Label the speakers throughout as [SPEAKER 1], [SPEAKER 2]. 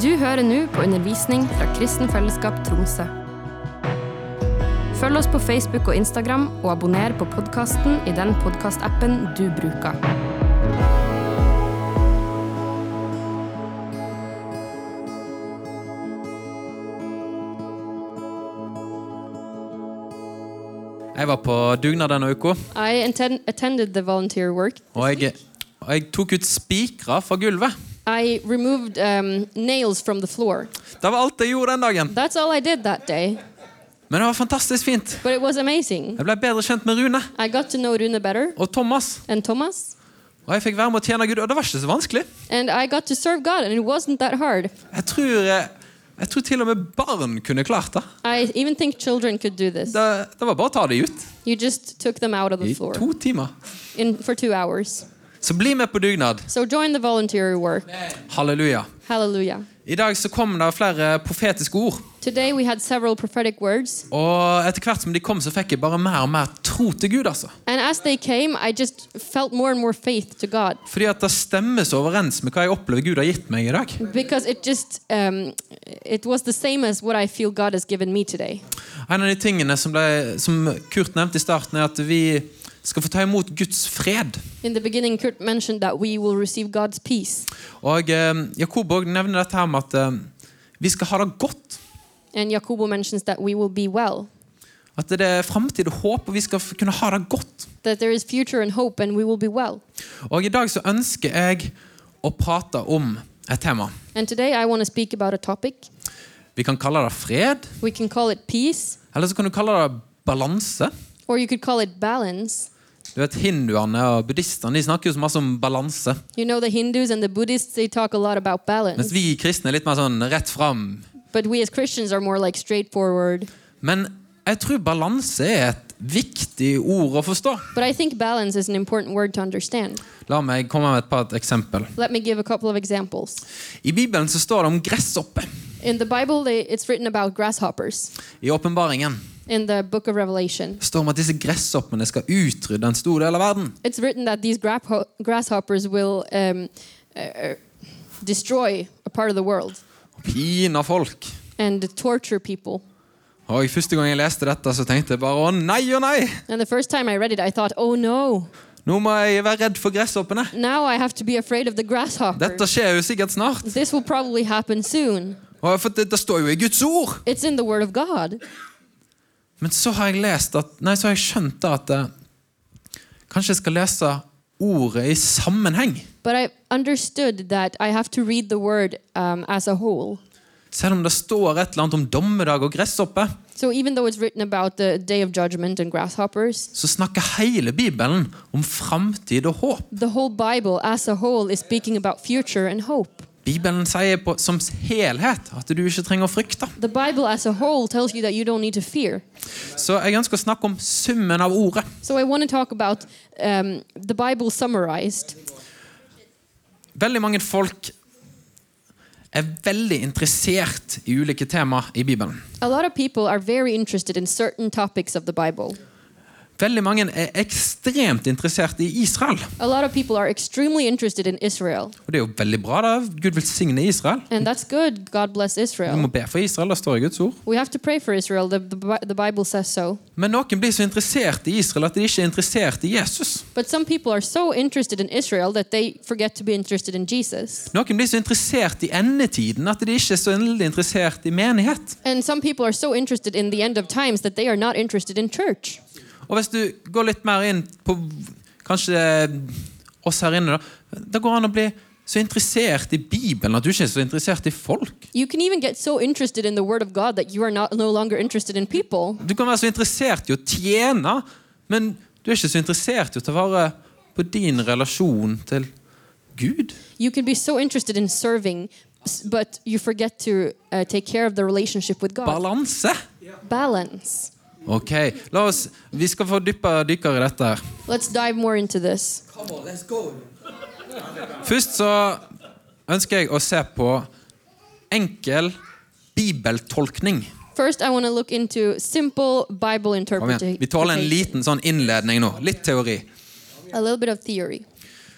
[SPEAKER 1] Du hører nå på undervisning fra Kristen Fellesskap Tromsø. Følg oss på Facebook og Instagram, og abonner på podkasten i den podkastappen du bruker.
[SPEAKER 2] Jeg var på dugnad denne uka,
[SPEAKER 3] I atten- attended the volunteer work.
[SPEAKER 2] og jeg, og jeg tok ut spikere fra gulvet.
[SPEAKER 3] I removed um, nails from the floor.
[SPEAKER 2] Det var alt jeg gjorde den dagen.
[SPEAKER 3] That's all I did that day,
[SPEAKER 2] Men det var fantastisk fint.
[SPEAKER 3] but it was amazing.
[SPEAKER 2] Jeg ble bedre kjent med Rune
[SPEAKER 3] I got to know Rune better
[SPEAKER 2] og Thomas.
[SPEAKER 3] and Thomas,
[SPEAKER 2] Og jeg fikk være med å tjene Gud, og det var ikke så vanskelig.
[SPEAKER 3] and I got to serve God, and it wasn't that hard.
[SPEAKER 2] Jeg tror, eh, jeg tror til og med barn kunne klart det.
[SPEAKER 3] I even think children could do this.
[SPEAKER 2] Det, det var bare å ta det ut
[SPEAKER 3] You just took them out of the
[SPEAKER 2] i
[SPEAKER 3] floor
[SPEAKER 2] to timer.
[SPEAKER 3] in for two hours.
[SPEAKER 2] Så bli med på dugnad.
[SPEAKER 3] So join the volunteer work.
[SPEAKER 2] Halleluja.
[SPEAKER 3] Hallelujah.
[SPEAKER 2] I dag så kom det flere profetiske ord.
[SPEAKER 3] Today we had several prophetic words,
[SPEAKER 2] Og etter hvert som de kom, så fikk jeg bare mer og mer tro til Gud. altså.
[SPEAKER 3] and as they came, I just felt more and more faith to God
[SPEAKER 2] Fordi at det stemmer så overens med hva jeg opplever Gud har gitt meg i dag.
[SPEAKER 3] because it just um, it was the same as what I feel God has given me today.
[SPEAKER 2] En av de tingene som, ble, som Kurt nevnte i starten, er at vi skal få ta imot Guds fred.
[SPEAKER 3] In the beginning, Kurt mentioned that we will receive God's peace,
[SPEAKER 2] Og eh, Jakob også nevner dette her med at eh, vi skal ha det godt.
[SPEAKER 3] and Jacobo mentions that we will be well,
[SPEAKER 2] At det er framtid og håp, og vi skal f- kunne ha det godt.
[SPEAKER 3] that there is future and hope, and we will be well.
[SPEAKER 2] Og i dag så ønsker jeg å prate om et tema.
[SPEAKER 3] And today, I want to speak about a topic.
[SPEAKER 2] Vi kan kalle det fred,
[SPEAKER 3] We can call it peace,
[SPEAKER 2] eller så kan du kalle det balanse.
[SPEAKER 3] or you could call it balance.
[SPEAKER 2] Du vet, Hinduene og buddhistene de snakker jo så masse om balanse.
[SPEAKER 3] You know, the Hindus and the Buddhists, they talk a lot about
[SPEAKER 2] Mens
[SPEAKER 3] balance,
[SPEAKER 2] vi kristne er litt mer sånn rett fram.
[SPEAKER 3] but we as Christians are more like straightforward.
[SPEAKER 2] Men jeg tror balanse er et viktig ord å forstå.
[SPEAKER 3] But I think balance is an important word to understand.
[SPEAKER 2] La meg komme med et par eksempel.
[SPEAKER 3] Let me give a couple of examples.
[SPEAKER 2] I Bibelen så står det om gresshopper
[SPEAKER 3] In the Bible, they, it's written about grasshoppers.
[SPEAKER 2] i åpenbaringen.
[SPEAKER 3] In the book of Revelation,
[SPEAKER 2] Det står om at disse gresshoppene skal utrydde en stor del av verden.
[SPEAKER 3] it's written that these grapho- grasshoppers will um, uh, destroy a part of the world
[SPEAKER 2] Og pine folk.
[SPEAKER 3] and torture people.
[SPEAKER 2] Og Første gang jeg leste dette, så tenkte jeg bare å nei og nei!
[SPEAKER 3] And the first time I read it, I thought, oh no,
[SPEAKER 2] Nå må jeg være redd for gresshoppene.
[SPEAKER 3] now I have to be afraid of the grasshopper.
[SPEAKER 2] Dette skjer jo sikkert snart.
[SPEAKER 3] This will probably happen soon.
[SPEAKER 2] Og for dette står jo i Guds ord!
[SPEAKER 3] It's in the Word of God.
[SPEAKER 2] Men så har jeg lest at, nei, så har jeg skjønt da at eh, Kanskje jeg skal lese ordet i sammenheng.
[SPEAKER 3] But I understood that I have to read the Word um, as a whole.
[SPEAKER 2] Selv om det står et eller annet om dommedag og gresshoppe,
[SPEAKER 3] So even though it's written about the Day of Judgment and grasshoppers,
[SPEAKER 2] så snakker hele Bibelen om framtid og håp.
[SPEAKER 3] the whole Bible as a whole is speaking about future and hope.
[SPEAKER 2] Bibelen sier på, som helhet at du ikke trenger å frykte.
[SPEAKER 3] The Bible as a whole tells you that you don't need to fear.
[SPEAKER 2] Så jeg ønsker å snakke om summen av ordet.
[SPEAKER 3] So I want to talk about um, the Bible summarized.
[SPEAKER 2] Veldig mange folk er veldig interessert i ulike tema i Bibelen.
[SPEAKER 3] A lot of people are very interested in certain topics of the Bible.
[SPEAKER 2] Veldig mange er ekstremt interessert i Israel.
[SPEAKER 3] A lot of people are extremely interested in Israel,
[SPEAKER 2] Og det er jo veldig bra. da. Gud velsigne Israel.
[SPEAKER 3] and that's good. God bless
[SPEAKER 2] Vi må
[SPEAKER 3] Israel.
[SPEAKER 2] be for Israel, det står i Guds ord.
[SPEAKER 3] We have to pray for Israel. The, the, Bi- the Bible says so.
[SPEAKER 2] Men noen blir så interessert i Israel at de ikke er interessert i Jesus.
[SPEAKER 3] But some people are so interested in Israel that they forget to be interested in Jesus.
[SPEAKER 2] Noen blir så interessert i endetiden at de ikke er så veldig interessert i menighet.
[SPEAKER 3] And some people are so interested in the end of times that they are not interested in church.
[SPEAKER 2] Og hvis du går litt mer inn på v- kanskje oss her inne, da. Da går det an å bli så interessert i Bibelen at du ikke er så interessert i folk.
[SPEAKER 3] You can even get so interested in the Word of God that you are not, no longer interested in people.
[SPEAKER 2] Du kan være så interessert i å tjene, men du er ikke så interessert i å ta vare på din relasjon til Gud.
[SPEAKER 3] You can be so interested in serving, s- but you forget to uh, take care of the relationship with God.
[SPEAKER 2] Balanse.
[SPEAKER 3] Balance.
[SPEAKER 2] Ok, la oss, Vi skal få dyppe dykkere i dette. her.
[SPEAKER 3] Let's dive more into this.
[SPEAKER 2] Først så ønsker jeg å se på enkel bibeltolkning.
[SPEAKER 3] First, I want to look into simple Bible
[SPEAKER 2] Kom igjen.
[SPEAKER 3] interpretation.
[SPEAKER 2] Vi tåler en liten sånn innledning nå. Litt teori.
[SPEAKER 3] A little bit of theory.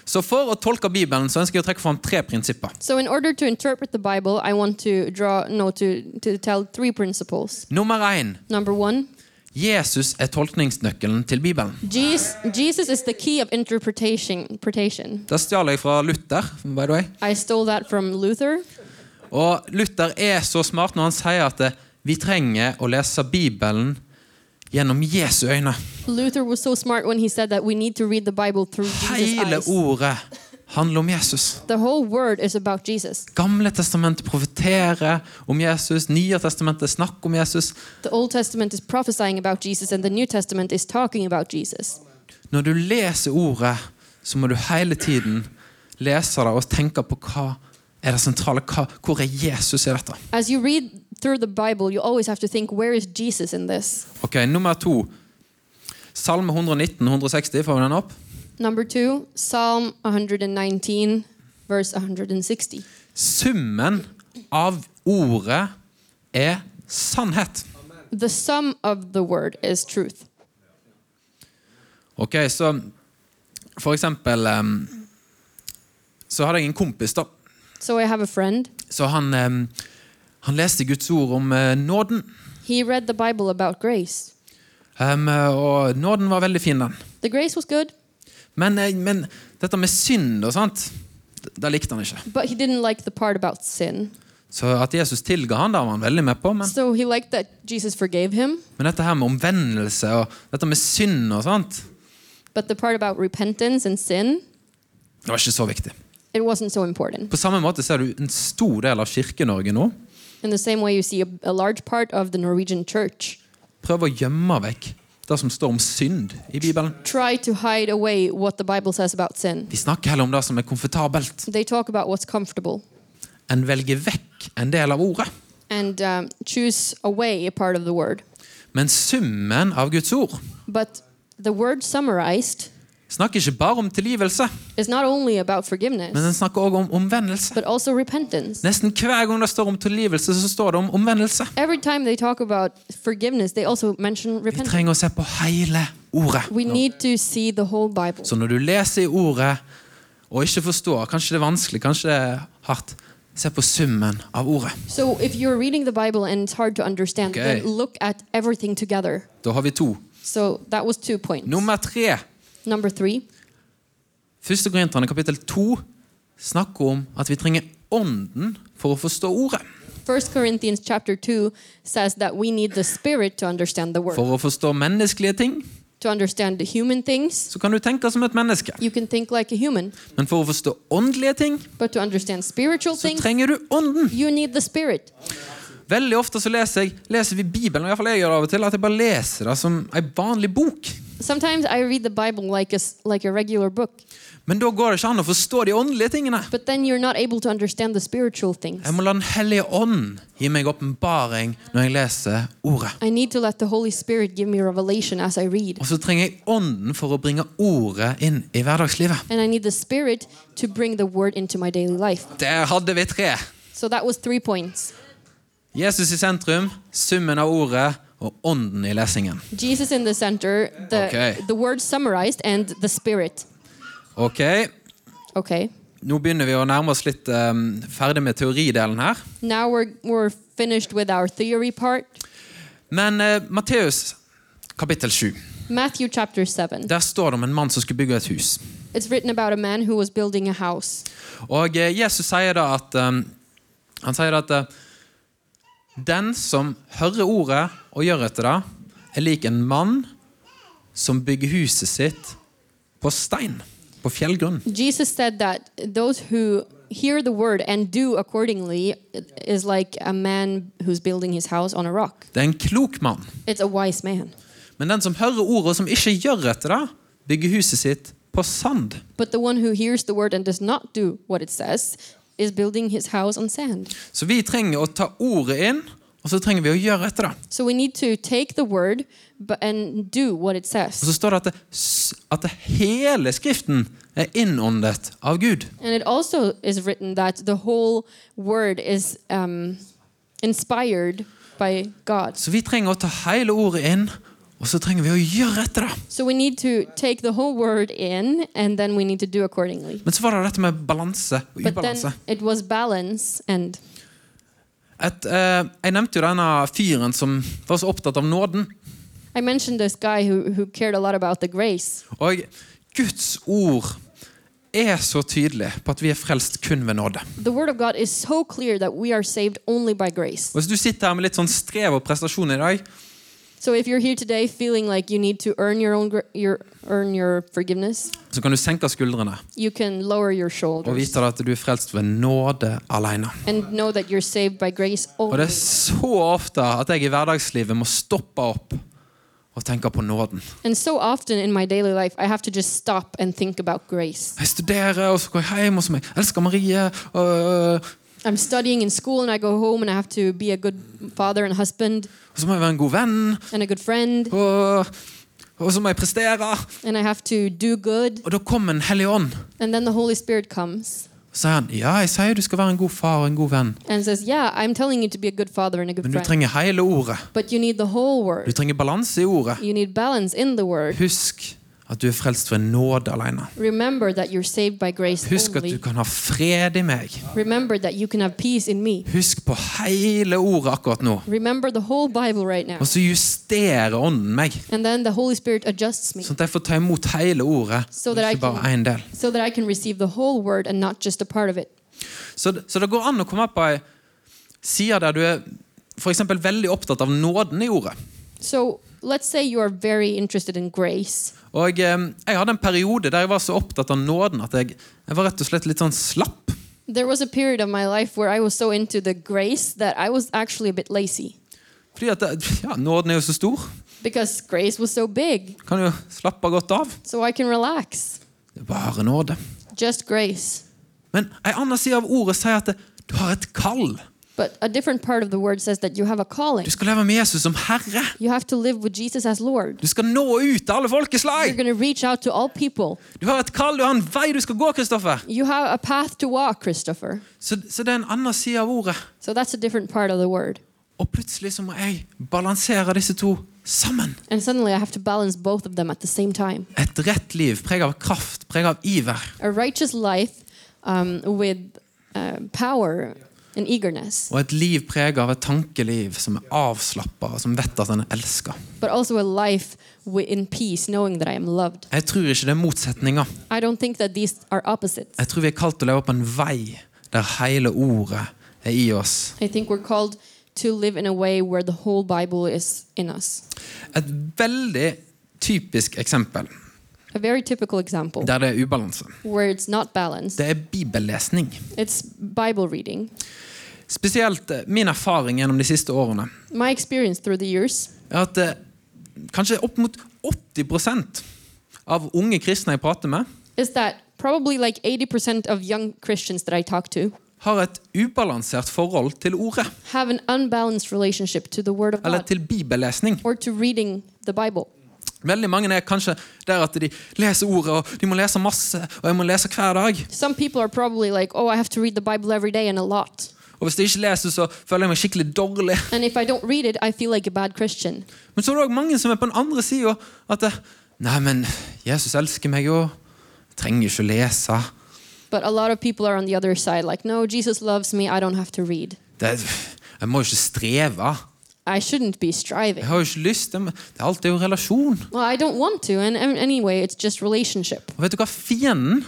[SPEAKER 2] Så for å tolke Bibelen så ønsker jeg å trekke fram tre prinsipper.
[SPEAKER 3] So, in order to interpret the Bible, I want to draw no to to tell three principles.
[SPEAKER 2] Nummer én
[SPEAKER 3] Number one,
[SPEAKER 2] Jesus er tolkningsnøkkelen til Bibelen.
[SPEAKER 3] Jesus, Jesus is the key of interpretation. interpretation.
[SPEAKER 2] Det stjal jeg fra Luther. by the way.
[SPEAKER 3] I stole that from Luther.
[SPEAKER 2] Og Luther er så smart når han sier at eh, vi trenger å lese Bibelen gjennom Jesu øyne.
[SPEAKER 3] Luther was so smart when he said that we need to read the Bible through Jesus'
[SPEAKER 2] Hele
[SPEAKER 3] eyes.
[SPEAKER 2] ordet handler om Jesus.
[SPEAKER 3] The whole word is about Jesus.
[SPEAKER 2] Gamle testamentet profeterer om Jesus, Nye testamentet snakker om Jesus.
[SPEAKER 3] The Old Testament is prophesying about Jesus, and the New Testament is talking about Jesus.
[SPEAKER 2] Når du leser ordet, så må du hele tiden lese det og tenke på hva er det sentrale. Hva, hvor er Jesus i dette?
[SPEAKER 3] As you read through the Bible, you always have to think, where is Jesus in this?
[SPEAKER 2] Ok, Nummer to. Salme 119, 160. Får vi den opp?
[SPEAKER 3] Number two, Psalm 119, verse 160.
[SPEAKER 2] Summen av ordet er sannhet.
[SPEAKER 3] The sum of the word is truth.
[SPEAKER 2] Ok, så for eksempel em, Så hadde jeg en kompis, da.
[SPEAKER 3] So I have a friend.
[SPEAKER 2] Så han, em, han leste Guds ord om eh, nåden.
[SPEAKER 3] He read the Bible about grace.
[SPEAKER 2] Em, og nåden var veldig fin, den.
[SPEAKER 3] The grace was good,
[SPEAKER 2] Men, eh, men dette med synd og sånt, det det likte han ikke.
[SPEAKER 3] but he didn't like the part about sin.
[SPEAKER 2] Så at Jesus tilga han, det var han veldig med på. Men,
[SPEAKER 3] So he liked that Jesus forgave him,
[SPEAKER 2] men dette her med omvendelse og dette med synd og sånt,
[SPEAKER 3] but the part about repentance and sin,
[SPEAKER 2] det var ikke så viktig.
[SPEAKER 3] it wasn't so important.
[SPEAKER 2] På samme måte ser du en stor del av Kirke-Norge nå
[SPEAKER 3] In the same way, you see a, a large part of the Norwegian church
[SPEAKER 2] prøver å gjemme vekk det som står om synd i Bibelen.
[SPEAKER 3] try to hide away what the Bible says about sin.
[SPEAKER 2] De snakker heller om det som er komfortabelt,
[SPEAKER 3] They talk about what's comfortable
[SPEAKER 2] enn velger vekk en del av ordet.
[SPEAKER 3] and um, choose away a part of the word.
[SPEAKER 2] Men summen av Guds ord
[SPEAKER 3] But the word summarized
[SPEAKER 2] snakker ikke bare om tilgivelse,
[SPEAKER 3] is not only about
[SPEAKER 2] men
[SPEAKER 3] forgiveness,
[SPEAKER 2] den snakker også om omvendelse.
[SPEAKER 3] but also repentance.
[SPEAKER 2] Nesten hver gang det står om tilgivelse, så står det om omvendelse.
[SPEAKER 3] Every time they talk about forgiveness, they also mention
[SPEAKER 2] Vi
[SPEAKER 3] repentance.
[SPEAKER 2] trenger å se på hele ordet.
[SPEAKER 3] We need to see the whole Bible.
[SPEAKER 2] Så når du leser i ordet og ikke forstår, kanskje det er vanskelig, kanskje det er hardt, se på summen av ordet.
[SPEAKER 3] So if you're reading the Bible and it's hard to understand,
[SPEAKER 2] Okay.
[SPEAKER 3] then look at everything together.
[SPEAKER 2] Da har vi to.
[SPEAKER 3] So that was two points.
[SPEAKER 2] Nummer tre.
[SPEAKER 3] Number three,
[SPEAKER 2] Første Korinterne kapittel to snakker om at vi trenger ånden for å forstå ordet.
[SPEAKER 3] 1 Corinthians chapter 2 says that we need the spirit to understand the word.
[SPEAKER 2] For å forstå menneskelige ting,
[SPEAKER 3] to understand the human things,
[SPEAKER 2] så kan du tenke som et menneske.
[SPEAKER 3] you can think like a human.
[SPEAKER 2] Men for å forstå åndelige ting,
[SPEAKER 3] But to understand spiritual
[SPEAKER 2] så
[SPEAKER 3] things,
[SPEAKER 2] trenger du ånden.
[SPEAKER 3] you need the spirit.
[SPEAKER 2] Veldig ofte så leser, jeg, leser vi Bibelen, og i hvert fall jeg gjør det av og til, at jeg bare leser det som ei vanlig bok.
[SPEAKER 3] Sometimes I read the Bible like a, s- like a regular book,
[SPEAKER 2] Men da går det ikke an å forstå de åndelige tingene.
[SPEAKER 3] but then you're not able to understand the spiritual things.
[SPEAKER 2] Jeg må la Den hellige ånd gi meg åpenbaring når jeg leser Ordet.
[SPEAKER 3] I need to let the Holy Spirit give me revelation as I read.
[SPEAKER 2] Og så trenger jeg Ånden for å bringe Ordet inn i hverdagslivet.
[SPEAKER 3] And I need the Spirit to bring the Word into my daily life.
[SPEAKER 2] Der hadde vi tre.
[SPEAKER 3] So that was three points
[SPEAKER 2] Jesus i sentrum, summen av Ordet og Ånden i lesingen.
[SPEAKER 3] Jesus in the center, the,
[SPEAKER 2] Okay.
[SPEAKER 3] the Word summarized, and the Spirit.
[SPEAKER 2] Ok,
[SPEAKER 3] Okay.
[SPEAKER 2] Nå begynner vi å nærme oss litt ehm, ferdig med teoridelen her.
[SPEAKER 3] Now we're, we're finished with our theory part.
[SPEAKER 2] Men eh, Matteus kapittel 7.
[SPEAKER 3] Matthew chapter 7.
[SPEAKER 2] Der står det om en mann som skulle bygge et hus.
[SPEAKER 3] It's written about a man who was building a house.
[SPEAKER 2] Og eh, Jesus sier da at um, Han sier da at eh, den som hører ordet og gjør etter det, er lik en mann som bygger huset sitt på stein, på fjellgrunn.
[SPEAKER 3] Jesus said that those who hear the word and do accordingly is like a man who's building his house on a rock.
[SPEAKER 2] Det er en klok mann.
[SPEAKER 3] It's a wise man.
[SPEAKER 2] Men den som hører ordet og som ikke gjør etter det, bygger huset sitt på sand.
[SPEAKER 3] But the one who hears the word and does not do what it says is building his house on sand.
[SPEAKER 2] Så vi trenger å ta ordet inn, og så trenger vi å gjøre etter det.
[SPEAKER 3] So we need to take the word but, and do what it
[SPEAKER 2] Og så
[SPEAKER 3] says.
[SPEAKER 2] står det at, det, s- at det hele Skriften er innåndet av Gud.
[SPEAKER 3] And it also is written that the whole word is um, inspired by God.
[SPEAKER 2] Så vi trenger å ta hele ordet inn Og så trenger vi å gjøre etter det.
[SPEAKER 3] So we need to take the whole word in and then we need to do accordingly.
[SPEAKER 2] Men så var det dette med balanse og
[SPEAKER 3] But then
[SPEAKER 2] ubalanse.
[SPEAKER 3] it was balance and
[SPEAKER 2] Et, eh, jeg nevnte jo denne fyren som var så opptatt av nåden.
[SPEAKER 3] I mentioned this guy who, who cared a lot about the grace.
[SPEAKER 2] Og Guds ord er så tydelig på at vi er frelst kun ved nåde.
[SPEAKER 3] The word of God is so clear that we are saved only by grace.
[SPEAKER 2] Og Hvis du sitter her med litt sånn strev og prestasjon i dag,
[SPEAKER 3] So if you're here today feeling like you need to earn your own gr- your earn your forgiveness,
[SPEAKER 2] så kan du senke skuldrene
[SPEAKER 3] you can lower your
[SPEAKER 2] og
[SPEAKER 3] shoulders
[SPEAKER 2] vite at du er frelst ved nåde alene.
[SPEAKER 3] and know that you're saved by grace
[SPEAKER 2] Og
[SPEAKER 3] only.
[SPEAKER 2] det er så ofte at jeg i hverdagslivet må stoppe opp og tenke på nåden.
[SPEAKER 3] And so often in my daily life, I have to just stop and think about grace.
[SPEAKER 2] Jeg studerer, og så går jeg hjem, og så må jeg elsker Marie. Og,
[SPEAKER 3] I'm studying in school and I go home and I have to be a good father and husband
[SPEAKER 2] og så må jeg være en god venn,
[SPEAKER 3] and a good friend
[SPEAKER 2] og, og så må jeg prestere.
[SPEAKER 3] and I have to do good.
[SPEAKER 2] Og da kommer en hellig ånd.
[SPEAKER 3] And then the Holy Spirit comes
[SPEAKER 2] Og sier han, ja, jeg sier du skal være en god far og en god venn,
[SPEAKER 3] and says, Yeah, I'm telling you to be a good father and a good
[SPEAKER 2] men du
[SPEAKER 3] friend.
[SPEAKER 2] trenger hele ordet.
[SPEAKER 3] But you need the whole
[SPEAKER 2] Du
[SPEAKER 3] word.
[SPEAKER 2] trenger balanse i ordet.
[SPEAKER 3] You need balance in the word.
[SPEAKER 2] Husk at du er frelst ved nåde alene.
[SPEAKER 3] Remember that you're saved by grace
[SPEAKER 2] Husk at du
[SPEAKER 3] only.
[SPEAKER 2] kan ha fred i meg.
[SPEAKER 3] Remember that you can have peace in me.
[SPEAKER 2] Husk på hele ordet akkurat nå.
[SPEAKER 3] Remember the whole Bible right now.
[SPEAKER 2] Og så justerer ånden meg.
[SPEAKER 3] And then the Holy Spirit adjusts me
[SPEAKER 2] Sånn at jeg får ta imot hele ordet,
[SPEAKER 3] So
[SPEAKER 2] og
[SPEAKER 3] that I
[SPEAKER 2] ikke bare
[SPEAKER 3] can-
[SPEAKER 2] én del.
[SPEAKER 3] so that I can receive the whole word and not just a part of it.
[SPEAKER 2] Så, så det går an å komme opp på ei side der du er for eksempel veldig opptatt av nåden i ordet.
[SPEAKER 3] So let's say you are very interested in grace.
[SPEAKER 2] Og eh, Jeg hadde en periode der jeg var så opptatt av nåden at jeg, jeg var rett og slett litt sånn slapp.
[SPEAKER 3] There was a period of my life where I was so into the grace that I was actually a bit lazy
[SPEAKER 2] Fordi at det, ja, nåden er jo så stor.
[SPEAKER 3] because grace was so big.
[SPEAKER 2] Kan jo slappe godt av.
[SPEAKER 3] So I can relax.
[SPEAKER 2] Det er bare nåde.
[SPEAKER 3] Just grace.
[SPEAKER 2] Men ei anna side av ordet sier at det, du har et kall.
[SPEAKER 3] But a different part of the word says that you have a calling.
[SPEAKER 2] Du skal leve med Jesus som herre.
[SPEAKER 3] You have to live with Jesus as Lord.
[SPEAKER 2] Du skal nå ut til
[SPEAKER 3] You're
[SPEAKER 2] alle folkeslag.
[SPEAKER 3] going to reach out to all people.
[SPEAKER 2] Du har et kall, du har en vei du skal gå, Kristoffer.
[SPEAKER 3] You have a path to walk, Christopher.
[SPEAKER 2] Så, så det er en annen side av ordet.
[SPEAKER 3] So that's a different part of the word.
[SPEAKER 2] Og plutselig så må jeg balansere disse to sammen.
[SPEAKER 3] And suddenly I have to balance both of them at the same time.
[SPEAKER 2] Et rett liv preget av kraft, preget av iver.
[SPEAKER 3] A righteous life um, with uh, power and eagerness,
[SPEAKER 2] Og et liv preget av et tankeliv som er avslappa, og som vet at en er elska.
[SPEAKER 3] but also a life wi- in peace, knowing that I am loved.
[SPEAKER 2] Jeg tror ikke det er motsetninger.
[SPEAKER 3] I don't think that these are opposites.
[SPEAKER 2] Jeg tror vi er kalt til å leve på en vei der hele ordet er i oss.
[SPEAKER 3] I think we're called to live in a way where the whole Bible is in us.
[SPEAKER 2] Et veldig typisk eksempel
[SPEAKER 3] A very typical example
[SPEAKER 2] der det er ubalanse,
[SPEAKER 3] where it's not balanced,
[SPEAKER 2] det er bibellesning.
[SPEAKER 3] it's Bible reading.
[SPEAKER 2] Spesielt eh, min erfaring gjennom de siste årene
[SPEAKER 3] My experience through the years
[SPEAKER 2] er at eh, kanskje opp mot 80 av unge kristne jeg prater med,
[SPEAKER 3] is that probably like 80% of young Christians that I talk to
[SPEAKER 2] har et ubalansert forhold til ordet,
[SPEAKER 3] have an unbalanced relationship to the Word of
[SPEAKER 2] eller
[SPEAKER 3] God
[SPEAKER 2] til bibellesning.
[SPEAKER 3] or to reading the Bible.
[SPEAKER 2] Veldig mange er kanskje der at de leser ordet, og de må lese masse, og jeg må lese hver dag.
[SPEAKER 3] Some people are probably like, oh, I have to read the Bible every day and a lot.
[SPEAKER 2] Og hvis jeg ikke leser, så føler jeg meg skikkelig dårlig.
[SPEAKER 3] And if I don't read it, I feel like a bad Christian.
[SPEAKER 2] Men så er det òg mange som er på den andre sida. At det, Nei, men Jesus elsker meg jo. Jeg trenger ikke å lese.
[SPEAKER 3] But a lot of people are on the other side, like, no, Jesus loves me, I don't have to read.
[SPEAKER 2] Det, jeg må jo ikke streve.
[SPEAKER 3] I shouldn't be striving.
[SPEAKER 2] Jeg har jo ikke lyst. Det, det er alt er jo relasjon.
[SPEAKER 3] Well, I don't want to, and, and anyway, it's just relationship.
[SPEAKER 2] Og vet du hva? Fienden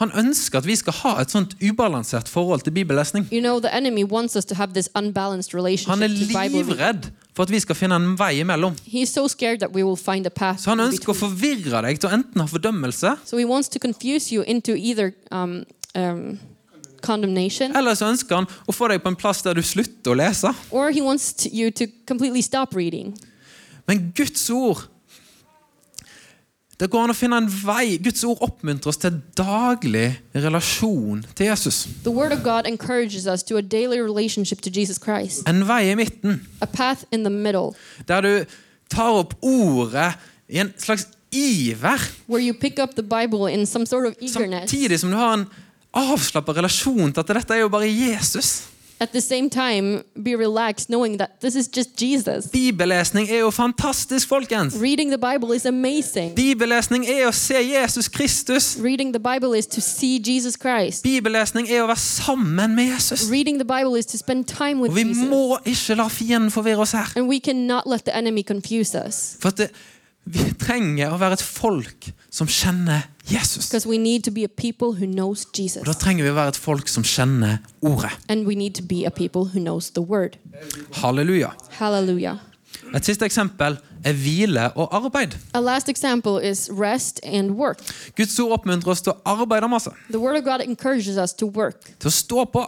[SPEAKER 2] han ønsker at vi skal ha et sånt ubalansert forhold til bibellesning.
[SPEAKER 3] You know, the enemy wants us to have this unbalanced relationship
[SPEAKER 2] Han er
[SPEAKER 3] to Bible reading.
[SPEAKER 2] livredd for at vi skal finne en vei imellom.
[SPEAKER 3] He's so scared that we will find a path.
[SPEAKER 2] Så han
[SPEAKER 3] in
[SPEAKER 2] ønsker å
[SPEAKER 3] between.
[SPEAKER 2] forvirre deg til å enten ha fordømmelse,
[SPEAKER 3] so he wants to confuse you into either um, um, condemnation,
[SPEAKER 2] eller så ønsker han å få deg på en plass der du slutter å lese.
[SPEAKER 3] or he wants to, you to completely stop reading.
[SPEAKER 2] Men Guds ord Det går an å finne en vei. Guds ord oppmuntrer oss til daglig relasjon til Jesus.
[SPEAKER 3] The Word of God encourages us to a daily relationship to Jesus Christ,
[SPEAKER 2] En vei i midten,
[SPEAKER 3] a path in the middle
[SPEAKER 2] der du tar opp ordet i en slags iver,
[SPEAKER 3] where you pick up the Bible in some sort of eagerness,
[SPEAKER 2] samtidig som du har en avslappa relasjon til at dette er jo bare Jesus.
[SPEAKER 3] at the same time be relaxed knowing that this is just Jesus.
[SPEAKER 2] Bibellesning er jo fantastisk, folkens!
[SPEAKER 3] Reading the Bible is amazing.
[SPEAKER 2] Bibellesning er å se Jesus Kristus.
[SPEAKER 3] Reading the Bible is to see Jesus Christ.
[SPEAKER 2] Bibellesning er å være sammen med Jesus.
[SPEAKER 3] Reading the Bible is to spend time with
[SPEAKER 2] Og vi
[SPEAKER 3] Jesus.
[SPEAKER 2] må ikke la fienden forvirre oss her.
[SPEAKER 3] And we cannot let the enemy confuse us
[SPEAKER 2] For at det, vi trenger å være et folk som kjenner Jesus.
[SPEAKER 3] because we need to be a people who knows
[SPEAKER 2] Og da
[SPEAKER 3] Jesus.
[SPEAKER 2] trenger vi å være et folk som kjenner Ordet.
[SPEAKER 3] And we need to be a people who knows the word.
[SPEAKER 2] Halleluja.
[SPEAKER 3] Hallelujah.
[SPEAKER 2] Et siste eksempel er hvile og arbeid.
[SPEAKER 3] A last example is rest and work.
[SPEAKER 2] Guds ord oppmuntrer oss til å arbeide masse.
[SPEAKER 3] The word of God encourages us to work,
[SPEAKER 2] Til å stå på.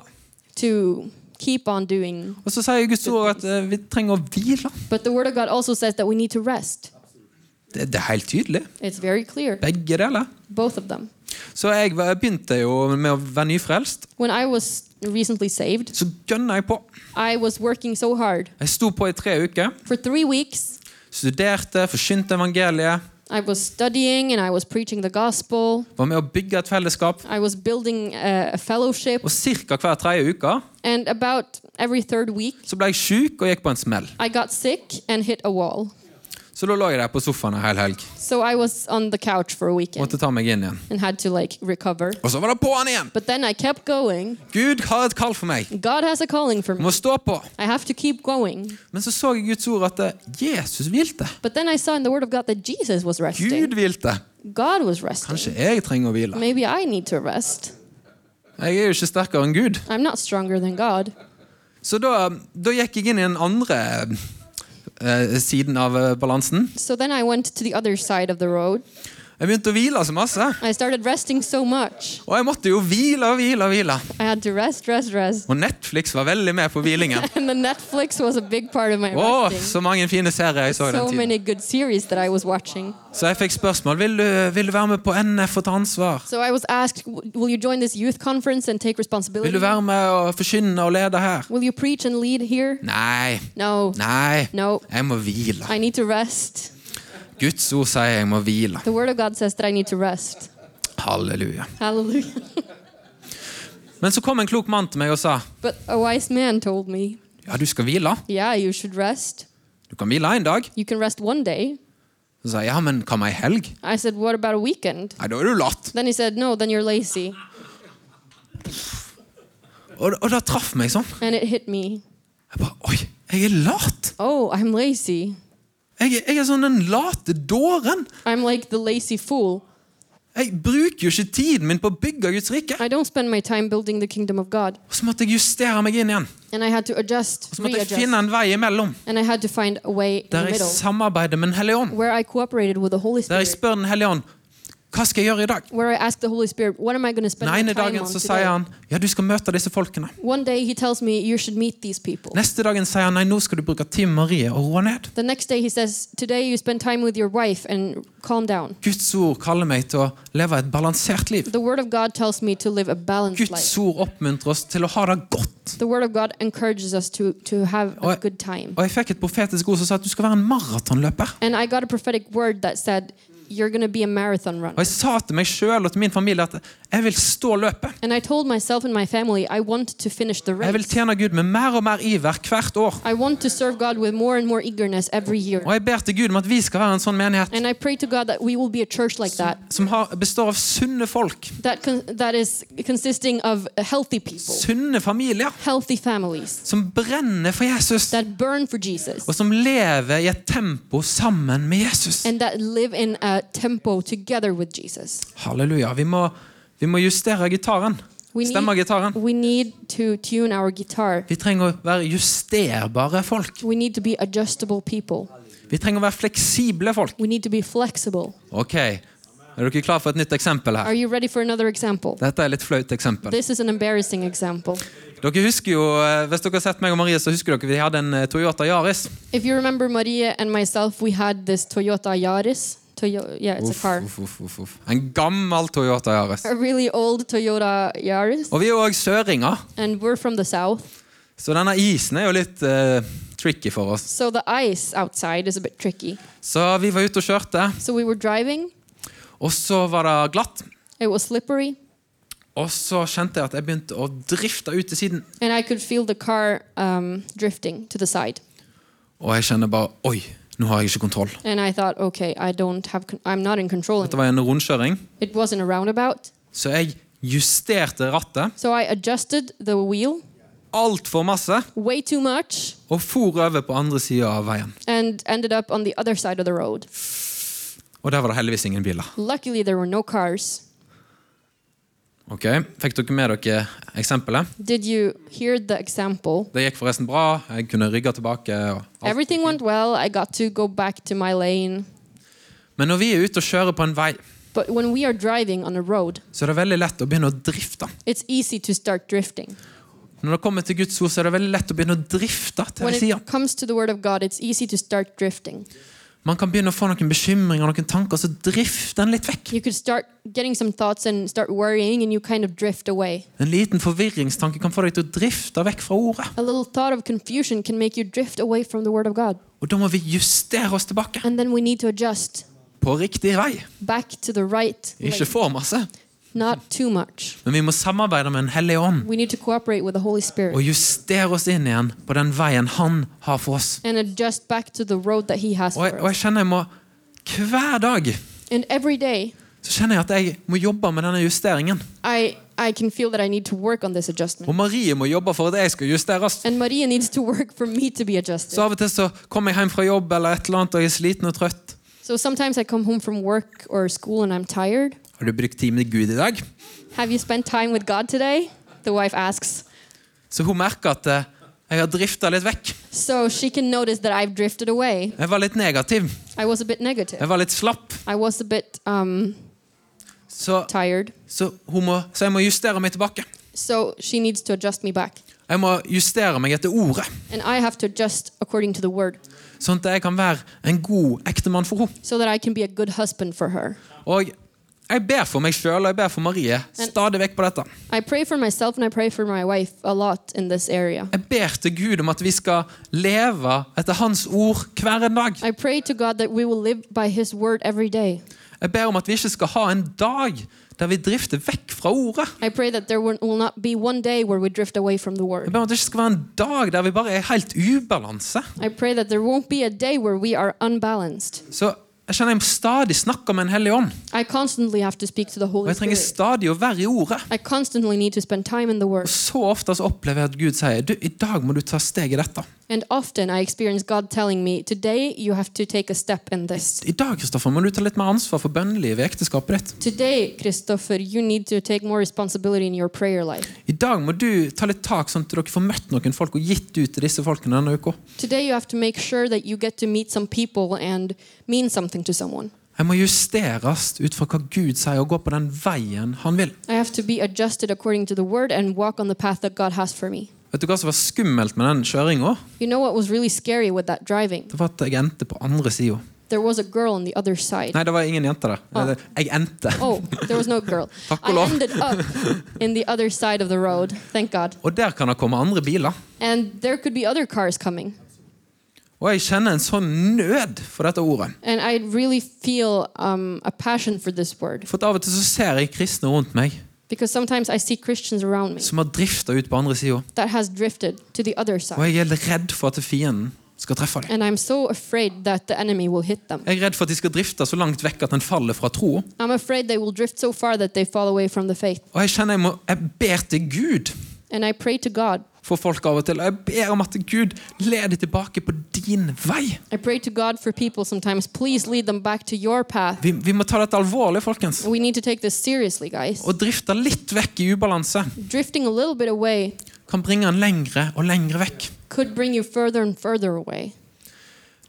[SPEAKER 3] to keep on doing.
[SPEAKER 2] Og så sier Guds ord at eh, vi trenger å hvile.
[SPEAKER 3] But the word of God also says that we need to rest.
[SPEAKER 2] Det, det er helt tydelig.
[SPEAKER 3] It's very clear,
[SPEAKER 2] Begge deler.
[SPEAKER 3] both of them.
[SPEAKER 2] Så jeg var- begynte jo med å være nyfrelst.
[SPEAKER 3] When I was recently saved,
[SPEAKER 2] Så gønna jeg på.
[SPEAKER 3] I was working so hard.
[SPEAKER 2] Jeg sto på i tre uker.
[SPEAKER 3] For three weeks,
[SPEAKER 2] Studerte, forkynte evangeliet.
[SPEAKER 3] I was studying and I was preaching the gospel.
[SPEAKER 2] Var med å bygge et fellesskap.
[SPEAKER 3] I was building a, a fellowship.
[SPEAKER 2] Og ca. hver tredje uke
[SPEAKER 3] And about every third week,
[SPEAKER 2] så ble jeg sjuk og gikk på en smell.
[SPEAKER 3] I got sick and hit a wall.
[SPEAKER 2] Så da lå jeg der på sofaen en hel helg.
[SPEAKER 3] So I was on the couch for a weekend
[SPEAKER 2] Måtte ta meg inn igjen.
[SPEAKER 3] and had to like recover.
[SPEAKER 2] Og så var det på'n igjen!
[SPEAKER 3] But then I kept going.
[SPEAKER 2] Gud har et kall for meg.
[SPEAKER 3] God has a calling for
[SPEAKER 2] Jeg
[SPEAKER 3] me.
[SPEAKER 2] må stå på.
[SPEAKER 3] I have to keep going.
[SPEAKER 2] Men så så jeg Guds ord at eh, Jesus hvilte.
[SPEAKER 3] But then I saw in the Word of God that Jesus was
[SPEAKER 2] Gud
[SPEAKER 3] resting.
[SPEAKER 2] hvilte.
[SPEAKER 3] God was resting.
[SPEAKER 2] Kanskje jeg trenger å hvile.
[SPEAKER 3] Maybe I need to rest.
[SPEAKER 2] Jeg er jo ikke sterkere enn Gud.
[SPEAKER 3] I'm not stronger than God.
[SPEAKER 2] Så da, da gikk jeg inn i den andre eh, siden av eh, balansen.
[SPEAKER 3] So then I went to the other side of the road.
[SPEAKER 2] Jeg begynte å hvile så masse.
[SPEAKER 3] I started resting so much.
[SPEAKER 2] Og jeg måtte jo hvile og hvile og hvile.
[SPEAKER 3] I had to rest, rest, rest.
[SPEAKER 2] Og Netflix var veldig med på hvilingen.
[SPEAKER 3] And the Netflix was a big part of my
[SPEAKER 2] Å,
[SPEAKER 3] resting.
[SPEAKER 2] så mange fine serier jeg så i den
[SPEAKER 3] So
[SPEAKER 2] tiden.
[SPEAKER 3] many good series that I was watching.
[SPEAKER 2] Så jeg fikk spørsmål vil du, vil du være med på NF og ta ansvar.
[SPEAKER 3] So I was asked, "W- will you join this youth conference and take
[SPEAKER 2] Vil du
[SPEAKER 3] responsibility?
[SPEAKER 2] være med og forkynne og lede her?
[SPEAKER 3] Will you preach and lead here?
[SPEAKER 2] Nei.
[SPEAKER 3] No.
[SPEAKER 2] Nei.
[SPEAKER 3] No.
[SPEAKER 2] Jeg må hvile.
[SPEAKER 3] I need to rest.
[SPEAKER 2] Guds ord sier jeg må hvile.
[SPEAKER 3] The Word of God says that I need to rest.
[SPEAKER 2] Halleluja.
[SPEAKER 3] Hallelujah.
[SPEAKER 2] Men så kom en klok mann til meg og sa
[SPEAKER 3] But a wise man told me,
[SPEAKER 2] ja, du skal hvile.
[SPEAKER 3] yeah, you should rest.
[SPEAKER 2] Du kan hvile en dag.
[SPEAKER 3] You can rest one day.
[SPEAKER 2] Så sa jeg ja, men hva med ei helg?
[SPEAKER 3] I said, what about a weekend?
[SPEAKER 2] Nei, da er du latt.
[SPEAKER 3] Then he said, no, then you're lazy.
[SPEAKER 2] Og, og da traff meg sånn.
[SPEAKER 3] And it hit me.
[SPEAKER 2] Jeg bare oi, jeg er lat.
[SPEAKER 3] Oh, I'm lazy.
[SPEAKER 2] Jeg, er- jeg er sånn den late dåren.
[SPEAKER 3] I'm like the lazy fool.
[SPEAKER 2] Jeg bruker jo ikke tiden min på å bygge Guds rike.
[SPEAKER 3] I don't spend my time building the kingdom of God.
[SPEAKER 2] Og så måtte jeg justere meg inn igjen.
[SPEAKER 3] And I had to adjust,
[SPEAKER 2] Og så måtte jeg finne
[SPEAKER 3] readjust.
[SPEAKER 2] en vei imellom.
[SPEAKER 3] And I had to find a way in the
[SPEAKER 2] Der jeg
[SPEAKER 3] middle
[SPEAKER 2] samarbeider med Den hellige ånd.
[SPEAKER 3] where I cooperated with the Holy
[SPEAKER 2] Der jeg
[SPEAKER 3] Spirit.
[SPEAKER 2] spør Den hellige ånd hva skal jeg gjøre i dag.
[SPEAKER 3] Where I asked the Holy Spirit, what am I going to spend
[SPEAKER 2] Den
[SPEAKER 3] my
[SPEAKER 2] ene
[SPEAKER 3] time
[SPEAKER 2] dagen
[SPEAKER 3] on
[SPEAKER 2] så sier
[SPEAKER 3] today?
[SPEAKER 2] han ja, du skal møte disse folkene.
[SPEAKER 3] One day he tells me, you should meet these people.
[SPEAKER 2] Neste dagen sier han nei, nå skal du bruke Tim Marie og roe ned.
[SPEAKER 3] The next day he says, today you spend time with your wife and calm down.
[SPEAKER 2] Guds ord kaller meg til å leve et balansert liv.
[SPEAKER 3] The word of God tells me to live a balanced
[SPEAKER 2] Guds
[SPEAKER 3] life.
[SPEAKER 2] ord oppmuntrer oss til å ha det godt.
[SPEAKER 3] The word of God encourages us to, to have a
[SPEAKER 2] Og-
[SPEAKER 3] good time.
[SPEAKER 2] Og jeg fikk et profetisk ord som sa at du skal være en maratonløper.
[SPEAKER 3] And I got a prophetic word that said, You're going to be a marathon
[SPEAKER 2] Og
[SPEAKER 3] runner.
[SPEAKER 2] jeg sa til meg sjøl og til min familie at jeg vil stå løpet.
[SPEAKER 3] And I told myself and my family, I want to finish the
[SPEAKER 2] Jeg vil
[SPEAKER 3] race.
[SPEAKER 2] tjene Gud med mer og mer iver hvert år.
[SPEAKER 3] I want to serve God with more and more eagerness every year.
[SPEAKER 2] Og jeg ber til Gud om at vi skal være en sånn menighet
[SPEAKER 3] And I pray to God that we will be a church like that,
[SPEAKER 2] som har, består av sunne folk,
[SPEAKER 3] that, con- that is consisting of healthy people,
[SPEAKER 2] sunne familier,
[SPEAKER 3] healthy families
[SPEAKER 2] som brenner for Jesus,
[SPEAKER 3] that burn for Jesus
[SPEAKER 2] og som lever i et tempo sammen med Jesus.
[SPEAKER 3] and that live in a tempo together with Jesus.
[SPEAKER 2] Halleluja. Vi må, vi må justere gitaren.
[SPEAKER 3] We
[SPEAKER 2] Stemme
[SPEAKER 3] need,
[SPEAKER 2] gitaren.
[SPEAKER 3] we need to tune our guitar.
[SPEAKER 2] Vi trenger å være justerbare folk.
[SPEAKER 3] We need to be adjustable people.
[SPEAKER 2] Vi trenger å være fleksible folk.
[SPEAKER 3] We need to be flexible.
[SPEAKER 2] Ok, er dere klar for et nytt eksempel
[SPEAKER 3] Are
[SPEAKER 2] her?
[SPEAKER 3] you ready for another example?
[SPEAKER 2] Dette er et litt flaut eksempel.
[SPEAKER 3] This is an embarrassing example.
[SPEAKER 2] Dere husker jo, eh, Hvis dere har sett meg og Marie, så husker dere vi hadde en eh, Toyota Yaris.
[SPEAKER 3] If you remember Maria and myself, we had this Toyota Yaris. Toyo- yeah, it's a
[SPEAKER 2] Uff,
[SPEAKER 3] car.
[SPEAKER 2] uff, uff, uff, uff. En gammel Toyota Yaris.
[SPEAKER 3] A really old Toyota Yaris.
[SPEAKER 2] Og vi er jo òg søringer,
[SPEAKER 3] And we're from the south,
[SPEAKER 2] så denne isen er jo litt eh, tricky for oss.
[SPEAKER 3] so the ice outside is a bit tricky.
[SPEAKER 2] Så vi var ute og kjørte,
[SPEAKER 3] So we were driving,
[SPEAKER 2] og så var det glatt.
[SPEAKER 3] it was slippery,
[SPEAKER 2] Og så kjente jeg at jeg begynte å drifte ut til siden.
[SPEAKER 3] and I could feel the car um, drifting to the side.
[SPEAKER 2] Og jeg kjenner bare Oi, nå har jeg ikke kontroll.
[SPEAKER 3] And I thought, okay, I don't have, con- I'm not in control.
[SPEAKER 2] Dette
[SPEAKER 3] anymore.
[SPEAKER 2] var en rundkjøring,
[SPEAKER 3] It wasn't a roundabout,
[SPEAKER 2] så jeg justerte rattet
[SPEAKER 3] so I adjusted the wheel
[SPEAKER 2] altfor masse
[SPEAKER 3] way too much
[SPEAKER 2] og for over på andre sida av veien.
[SPEAKER 3] and ended up on the other side of the road.
[SPEAKER 2] Og der var det heldigvis ingen biler.
[SPEAKER 3] Luckily, there were no cars.
[SPEAKER 2] Ok, Fikk dere med dere eksempelet?
[SPEAKER 3] Did you hear the example?
[SPEAKER 2] Det gikk forresten bra. Jeg kunne rygge tilbake. Og alt.
[SPEAKER 3] Everything went well. I got to go back to my lane.
[SPEAKER 2] Men når vi er ute og kjører på en vei,
[SPEAKER 3] But when we are driving on a road,
[SPEAKER 2] så er det veldig lett å begynne å drifte.
[SPEAKER 3] it's easy to start drifting.
[SPEAKER 2] Når det kommer til Guds ord, så er det veldig lett å begynne å drifte til
[SPEAKER 3] When
[SPEAKER 2] sida.
[SPEAKER 3] it comes to the Word of God, it's easy to start drifting.
[SPEAKER 2] Man kan begynne å få noen bekymringer og noen tanker, så drift den litt vekk.
[SPEAKER 3] You could start getting some thoughts and start worrying, and you kind of drift away.
[SPEAKER 2] En liten forvirringstanke kan få deg til å drifte vekk fra ordet.
[SPEAKER 3] A little thought of confusion can make you drift away from the Word of God.
[SPEAKER 2] Og da må vi justere oss tilbake.
[SPEAKER 3] And then we need to adjust
[SPEAKER 2] På riktig vei.
[SPEAKER 3] back to the right,
[SPEAKER 2] Ikke
[SPEAKER 3] lane.
[SPEAKER 2] for masse.
[SPEAKER 3] not too much.
[SPEAKER 2] Men vi må samarbeide med Den hellige ånd
[SPEAKER 3] We need to cooperate with the Holy Spirit
[SPEAKER 2] og justere oss inn igjen på den veien Han har for oss.
[SPEAKER 3] and adjust back to the road that He has
[SPEAKER 2] Og jeg,
[SPEAKER 3] for
[SPEAKER 2] og
[SPEAKER 3] us.
[SPEAKER 2] jeg kjenner jeg må Hver dag
[SPEAKER 3] And every day,
[SPEAKER 2] så kjenner jeg at jeg må jobbe med denne justeringen.
[SPEAKER 3] I, I can feel that I need to work on this
[SPEAKER 2] Og
[SPEAKER 3] adjustment.
[SPEAKER 2] Marie må jobbe for at jeg skal justeres.
[SPEAKER 3] And Maria needs to work for me to be adjusted.
[SPEAKER 2] Så av og til så kommer jeg hjem fra jobb eller et eller annet og jeg er sliten og trøtt.
[SPEAKER 3] So sometimes I come home from work or school and I'm tired.
[SPEAKER 2] Har du brukt tid med Gud i dag?
[SPEAKER 3] Have you spent time with God today? The wife asks.
[SPEAKER 2] Så hun merker at eh, jeg har drifta litt vekk.
[SPEAKER 3] So she can notice that I've drifted away.
[SPEAKER 2] Jeg var litt negativ.
[SPEAKER 3] I was a bit negative.
[SPEAKER 2] Jeg var litt slapp.
[SPEAKER 3] I was a bit um,
[SPEAKER 2] Så,
[SPEAKER 3] tired.
[SPEAKER 2] så, hun må, så jeg må justere meg tilbake.
[SPEAKER 3] So she needs to adjust me back.
[SPEAKER 2] Jeg må justere meg etter ordet,
[SPEAKER 3] And I have to adjust according to the word
[SPEAKER 2] sånn at jeg kan være en god ektemann for henne.
[SPEAKER 3] so that I can be a good husband for her.
[SPEAKER 2] Og jeg ber for meg sjøl og jeg ber for Marie stadig vekk på dette.
[SPEAKER 3] I pray for myself and I pray for my wife a lot in this area.
[SPEAKER 2] Jeg ber til Gud om at vi skal leve etter Hans ord hver en dag.
[SPEAKER 3] I pray to God that we will live by His word every day.
[SPEAKER 2] Jeg ber om at vi ikke skal ha en dag der vi drifter vekk fra ordet.
[SPEAKER 3] I pray that there will will not be one day where we drift away from the word.
[SPEAKER 2] Jeg ber om at det ikke skal være en dag der vi bare er helt ubalanse.
[SPEAKER 3] I pray that there won't be a day where we are unbalanced.
[SPEAKER 2] Så jeg kjenner jeg stadig snakker med en hellig ånd.
[SPEAKER 3] I constantly have to speak to the
[SPEAKER 2] Og
[SPEAKER 3] Holy
[SPEAKER 2] jeg trenger
[SPEAKER 3] Spirit.
[SPEAKER 2] stadig å være i ordet.
[SPEAKER 3] I constantly need to spend time in the Word.
[SPEAKER 2] Så ofte så opplever jeg at Gud sier du, i dag må du ta steg i dette.
[SPEAKER 3] And often I experience God telling me, Today you have to take a step in this.
[SPEAKER 2] I dag Kristoffer, må du ta litt mer ansvar for bønnelivet i ekteskapet ditt.
[SPEAKER 3] Today, Christopher, you need to take more responsibility in your prayer life.
[SPEAKER 2] I dag må du ta litt tak, sånn at dere får møtt noen folk og gitt ut til disse folkene denne uka.
[SPEAKER 3] Today you have to make sure that you get to meet some people and mean something to someone.
[SPEAKER 2] Jeg må justeres ut fra hva Gud sier, og gå på den veien han vil.
[SPEAKER 3] I have to be adjusted according to the Word and walk on the path that God has for me.
[SPEAKER 2] Vet du hva som var skummelt med den kjøringa?
[SPEAKER 3] You know what was really scary with that driving?
[SPEAKER 2] Det var at jeg endte på andre sida.
[SPEAKER 3] There was a girl on the other side.
[SPEAKER 2] Nei, det var ingen jenter der.
[SPEAKER 3] Ah.
[SPEAKER 2] Eller, Jeg endte.
[SPEAKER 3] Oh, there was no girl.
[SPEAKER 2] Fuck
[SPEAKER 3] I
[SPEAKER 2] off.
[SPEAKER 3] ended up in the other side of the road, thank God.
[SPEAKER 2] Og der kan det komme andre biler.
[SPEAKER 3] And there could be other cars coming.
[SPEAKER 2] Og jeg kjenner en sånn nød for dette ordet.
[SPEAKER 3] And I really feel um, a passion for this word
[SPEAKER 2] For at av og til så ser jeg kristne rundt meg
[SPEAKER 3] because sometimes I see Christians around me
[SPEAKER 2] som har drifta ut på andre sida.
[SPEAKER 3] that has drifted to the other
[SPEAKER 2] Og
[SPEAKER 3] side.
[SPEAKER 2] jeg er redd for at fienden skal treffe dem.
[SPEAKER 3] And I'm so afraid that the enemy will hit them.
[SPEAKER 2] Jeg er redd for at de skal drifte så langt vekk at den faller fra troa.
[SPEAKER 3] I'm afraid they will drift so far that they fall away from the faith.
[SPEAKER 2] Og jeg kjenner jeg, må, jeg ber til Gud
[SPEAKER 3] And I pray to God.
[SPEAKER 2] for folk av og til. Og jeg ber om at Gud leder tilbake på din vei.
[SPEAKER 3] I pray to God for people sometimes. Please lead them back to your path.
[SPEAKER 2] Vi, vi må ta dette alvorlig, folkens.
[SPEAKER 3] We need to take this seriously, guys.
[SPEAKER 2] Å drifte litt vekk i ubalanse
[SPEAKER 3] Drifting a little bit away
[SPEAKER 2] kan bringe en lengre og lengre vekk.
[SPEAKER 3] could bring you further and further away.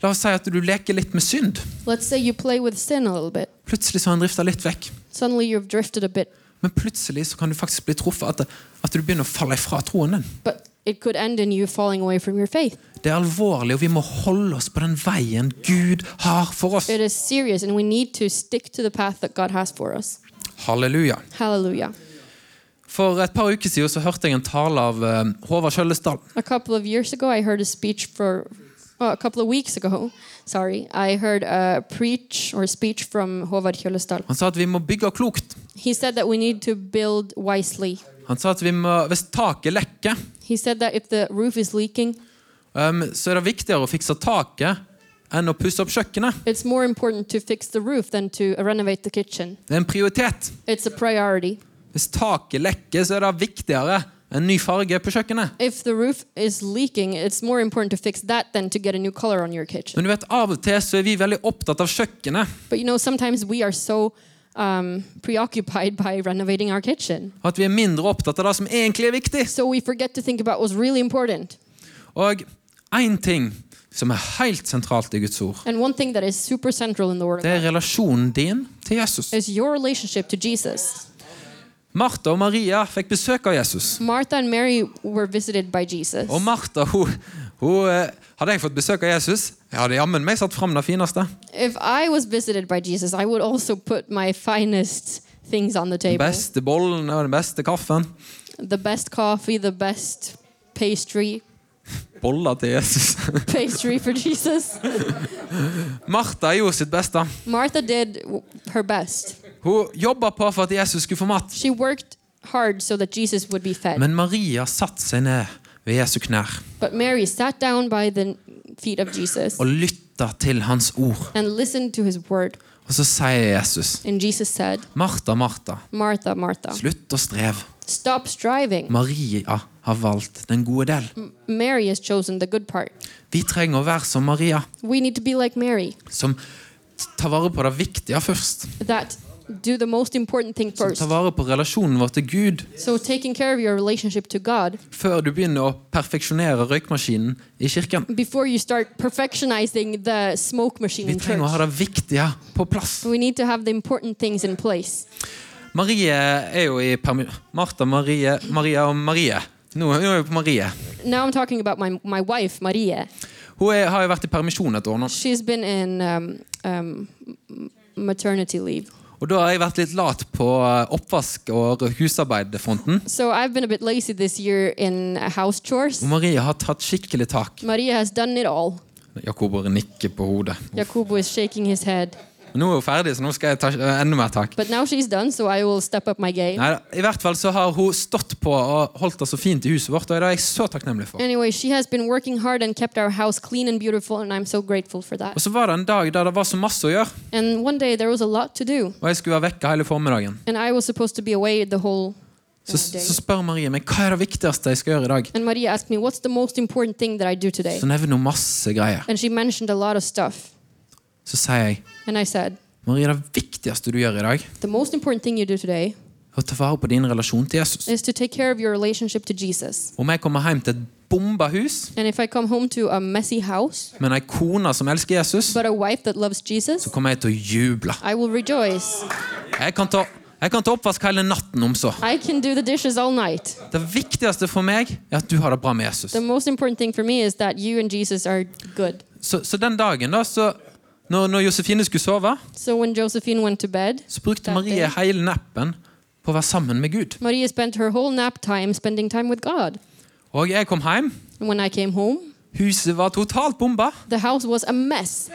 [SPEAKER 2] La oss si at du leker litt med synd.
[SPEAKER 3] Let's say you play with sin a little bit.
[SPEAKER 2] Plutselig så har han drifta litt vekk.
[SPEAKER 3] Suddenly you've drifted a bit,
[SPEAKER 2] Men plutselig så kan du faktisk bli truffet at, at du begynner å falle ifra troen din.
[SPEAKER 3] but it could end in you falling away from your faith.
[SPEAKER 2] Det er alvorlig, og vi må holde oss på den veien Gud har for oss.
[SPEAKER 3] It is serious, and we need to stick to the path that God has for us.
[SPEAKER 2] Halleluja.
[SPEAKER 3] Hallelujah.
[SPEAKER 2] For et par uker siden så hørte jeg en tale av eh, Håvard Kjøllesdal.
[SPEAKER 3] A couple of years ago, I heard a speech for. oh, a couple of weeks ago, sorry, I heard a preach or speech from Håvard Kjølesdal.
[SPEAKER 2] Han sa at vi må bygge klokt.
[SPEAKER 3] He said that we need to build wisely.
[SPEAKER 2] Han sa at vi må, hvis taket lekker,
[SPEAKER 3] He said that if the roof is leaking,
[SPEAKER 2] um, så er det viktigere å fikse taket enn å pusse opp kjøkkenet.
[SPEAKER 3] it's more important to fix the roof than to renovate the kitchen.
[SPEAKER 2] Det er en prioritet.
[SPEAKER 3] It's a priority.
[SPEAKER 2] Hvis taket lekker, så er det viktigere enn ny farge på kjøkkenet.
[SPEAKER 3] If the roof is leaking, it's more important to fix that than to get a new color on your kitchen.
[SPEAKER 2] Men du vet, Av og til så er vi veldig opptatt av kjøkkenet.
[SPEAKER 3] But you know, sometimes we are so um, preoccupied by renovating our kitchen.
[SPEAKER 2] At vi er mindre opptatt av det som egentlig er viktig.
[SPEAKER 3] So we forget to think about what's really important.
[SPEAKER 2] Og én ting som er helt sentralt i Guds ord,
[SPEAKER 3] And one thing that is super central in the Word of
[SPEAKER 2] det er
[SPEAKER 3] God
[SPEAKER 2] relasjonen din til Jesus.
[SPEAKER 3] is your relationship to Jesus.
[SPEAKER 2] Martha og Maria fikk besøk av Jesus.
[SPEAKER 3] Martha and Mary were visited by Jesus.
[SPEAKER 2] Og Martha, hun, hun eh, Hadde jeg fått besøk av Jesus, jeg hadde jammen meg satt fram det fineste.
[SPEAKER 3] If I was visited by Jesus, I would also put my finest things on the
[SPEAKER 2] Den
[SPEAKER 3] table
[SPEAKER 2] beste bollen og den beste kaffen.
[SPEAKER 3] the best coffee, the best pastry,
[SPEAKER 2] Boller til Jesus.
[SPEAKER 3] pastry for Jesus.
[SPEAKER 2] Martha gjorde sitt beste.
[SPEAKER 3] Martha did w- her best.
[SPEAKER 2] Hun jobba på for at Jesus skulle få mat.
[SPEAKER 3] She worked hard so that Jesus would be fed.
[SPEAKER 2] Men Maria satte seg ned ved Jesu knær
[SPEAKER 3] But Mary sat down by the feet of Jesus
[SPEAKER 2] og lytta til hans ord.
[SPEAKER 3] and listened to his word.
[SPEAKER 2] Og så sier Jesus,
[SPEAKER 3] And Jesus said,
[SPEAKER 2] Martha, Martha,
[SPEAKER 3] Martha, Martha,
[SPEAKER 2] slutt å streve.
[SPEAKER 3] stop striving.
[SPEAKER 2] Maria har valgt den gode del.
[SPEAKER 3] Mary has chosen the good part.
[SPEAKER 2] Vi trenger å være som Maria,
[SPEAKER 3] We need to be like Mary,
[SPEAKER 2] som tar vare på det viktige først.
[SPEAKER 3] that do the most important thing
[SPEAKER 2] Som
[SPEAKER 3] first.
[SPEAKER 2] tar vare på relasjonen vår til Gud
[SPEAKER 3] So taking care of your relationship to God
[SPEAKER 2] før du begynner å perfeksjonere røykmaskinen i kirken.
[SPEAKER 3] before you start perfectionizing the smoke machine
[SPEAKER 2] Vi
[SPEAKER 3] in
[SPEAKER 2] trenger å ha
[SPEAKER 3] church.
[SPEAKER 2] det viktige på plass.
[SPEAKER 3] We need to have the important things in place.
[SPEAKER 2] Marie er jo i permi... Martha, Marie, Maria og Marie. Nå nå er vi på Marie.
[SPEAKER 3] Now I'm talking about my my wife Maria.
[SPEAKER 2] Hun er, har jo vært i permisjon et år nå.
[SPEAKER 3] She's been in um, um, m- maternity leave.
[SPEAKER 2] Og da har jeg vært litt lat på eh, oppvask- og husarbeidfronten.
[SPEAKER 3] So I've been a bit lazy this year in house chores.
[SPEAKER 2] Og Marie har tatt skikkelig tak.
[SPEAKER 3] Maria has done it all.
[SPEAKER 2] Jakob bare nikker på hodet.
[SPEAKER 3] Jacobo is shaking his head.
[SPEAKER 2] Nå er hun ferdig, så nå skal jeg ta eh, enda mer tak.
[SPEAKER 3] But now she's done, so I will step up my game.
[SPEAKER 2] Neida, I hvert fall så har hun stått på og holdt det så fint i huset vårt, og det er jeg så takknemlig for.
[SPEAKER 3] Anyway, she has been working hard and kept our house clean and beautiful, and I'm so grateful for that.
[SPEAKER 2] Og så var det en dag der det var så masse å gjøre,
[SPEAKER 3] And one day there was a lot to do,
[SPEAKER 2] og jeg skulle være vekke hele formiddagen.
[SPEAKER 3] and I was supposed to be away the whole uh,
[SPEAKER 2] Så,
[SPEAKER 3] day.
[SPEAKER 2] så spør Marie meg hva er det viktigste jeg skal gjøre i dag.
[SPEAKER 3] And Maria asked me, What's the most important thing that I do today?
[SPEAKER 2] Så nevner hun masse greier.
[SPEAKER 3] And she mentioned a lot of stuff.
[SPEAKER 2] Så sier jeg
[SPEAKER 3] And I said,
[SPEAKER 2] Marie, det viktigste du gjør i dag,
[SPEAKER 3] The most important thing you do today
[SPEAKER 2] er å ta vare på din relasjon til Jesus.
[SPEAKER 3] is to take care of your relationship to Jesus.
[SPEAKER 2] Om jeg kommer hjem til et bomba hus
[SPEAKER 3] And if I come home to a messy house,
[SPEAKER 2] med ei kone som elsker Jesus,
[SPEAKER 3] but a wife that loves Jesus,
[SPEAKER 2] så kommer jeg til å juble.
[SPEAKER 3] I will rejoice.
[SPEAKER 2] Jeg kan ta, jeg kan ta oppvask hele natten om så.
[SPEAKER 3] I can do the dishes all night.
[SPEAKER 2] Det viktigste for meg er at du har det bra med Jesus.
[SPEAKER 3] The most important thing for me is that you and Jesus are good.
[SPEAKER 2] Så, så den dagen, da, så når, når Josefine skulle sove,
[SPEAKER 3] So when Josephine went to bed,
[SPEAKER 2] så brukte
[SPEAKER 3] That
[SPEAKER 2] Marie
[SPEAKER 3] day.
[SPEAKER 2] hele nappen på å være sammen med Gud.
[SPEAKER 3] Maria spent her whole nap time spending time with God.
[SPEAKER 2] Og jeg kom hjem.
[SPEAKER 3] And when I came home,
[SPEAKER 2] Huset var totalt bomba.
[SPEAKER 3] the house was a mess,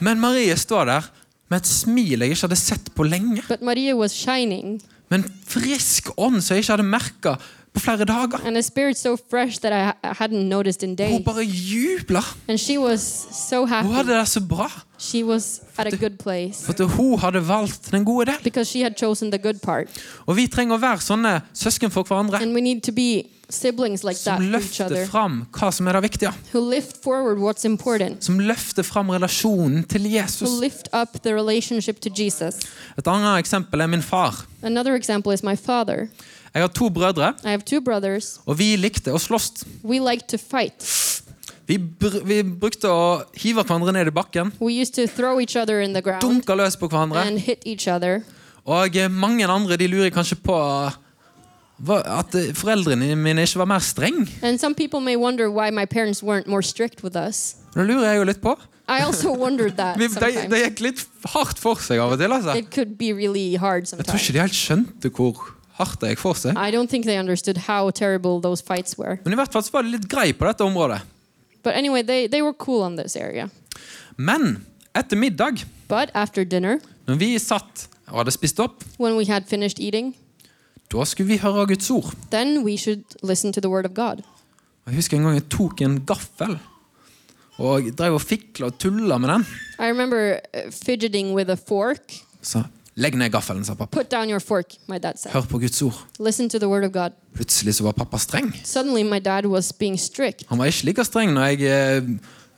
[SPEAKER 2] Men Marie står der med et smil jeg ikke hadde sett på lenge.
[SPEAKER 3] but Maria was shining
[SPEAKER 2] Med en frisk ånd som jeg ikke hadde merka på flere dager.
[SPEAKER 3] and a spirit so fresh that I ha- hadn't noticed in
[SPEAKER 2] Hun
[SPEAKER 3] days.
[SPEAKER 2] bare jubla.
[SPEAKER 3] And she was so
[SPEAKER 2] Hun hadde
[SPEAKER 3] happy.
[SPEAKER 2] det så bra.
[SPEAKER 3] She was at a good place
[SPEAKER 2] For at hun hadde valgt den gode del.
[SPEAKER 3] because she had chosen the good part.
[SPEAKER 2] Og vi trenger å være sånne søsken for hverandre.
[SPEAKER 3] And we need to be siblings like that
[SPEAKER 2] Som
[SPEAKER 3] for each
[SPEAKER 2] løfter
[SPEAKER 3] other,
[SPEAKER 2] fram hva som er det viktige.
[SPEAKER 3] who lift forward what's important,
[SPEAKER 2] Som løfter fram relasjonen til
[SPEAKER 3] who
[SPEAKER 2] Jesus.
[SPEAKER 3] lift up the relationship to Jesus.
[SPEAKER 2] Et annet eksempel er min far.
[SPEAKER 3] Another example is my father.
[SPEAKER 2] Jeg har to brødre,
[SPEAKER 3] I have two brothers.
[SPEAKER 2] og vi likte å slåss.
[SPEAKER 3] We like to fight.
[SPEAKER 2] Vi, br vi brukte å hive hverandre ned i bakken,
[SPEAKER 3] We used to throw each other in the ground
[SPEAKER 2] dunke løs på hverandre.
[SPEAKER 3] and hit each other.
[SPEAKER 2] Og eh, mange andre de lurer kanskje på eh, hva- at eh, foreldrene mine ikke var mer streng.
[SPEAKER 3] And some people may wonder why my parents weren't more strict with us.
[SPEAKER 2] Og Det lurer jeg jo litt på.
[SPEAKER 3] I also wondered that
[SPEAKER 2] Vi, de,
[SPEAKER 3] sometimes.
[SPEAKER 2] de gikk litt hardt for seg av og til. altså.
[SPEAKER 3] It could be really hard
[SPEAKER 2] Jeg tror
[SPEAKER 3] sometimes.
[SPEAKER 2] ikke de helt skjønte hvor hardt det gikk for seg.
[SPEAKER 3] I don't think they understood how terrible those fights were.
[SPEAKER 2] Men i hvert fall så var de litt grei på dette området.
[SPEAKER 3] But anyway, they, they were cool on this area.
[SPEAKER 2] Men etter middag,
[SPEAKER 3] But after dinner,
[SPEAKER 2] når vi satt og hadde spist opp,
[SPEAKER 3] when we had finished eating,
[SPEAKER 2] da skulle vi høre Guds ord.
[SPEAKER 3] then we should listen to the word of God.
[SPEAKER 2] Og Jeg husker en gang jeg tok en gaffel og jeg drev og fikla og tulla med den.
[SPEAKER 3] I remember uh, fidgeting with a fork.
[SPEAKER 2] Så legg ned gaffelen, sa pappa.
[SPEAKER 3] Put down your fork, my dad said.
[SPEAKER 2] Hør på Guds ord.
[SPEAKER 3] Listen to the word of God.
[SPEAKER 2] Plutselig så var pappa streng.
[SPEAKER 3] Suddenly, my dad was being strict.
[SPEAKER 2] Han var ikke like streng når jeg eh,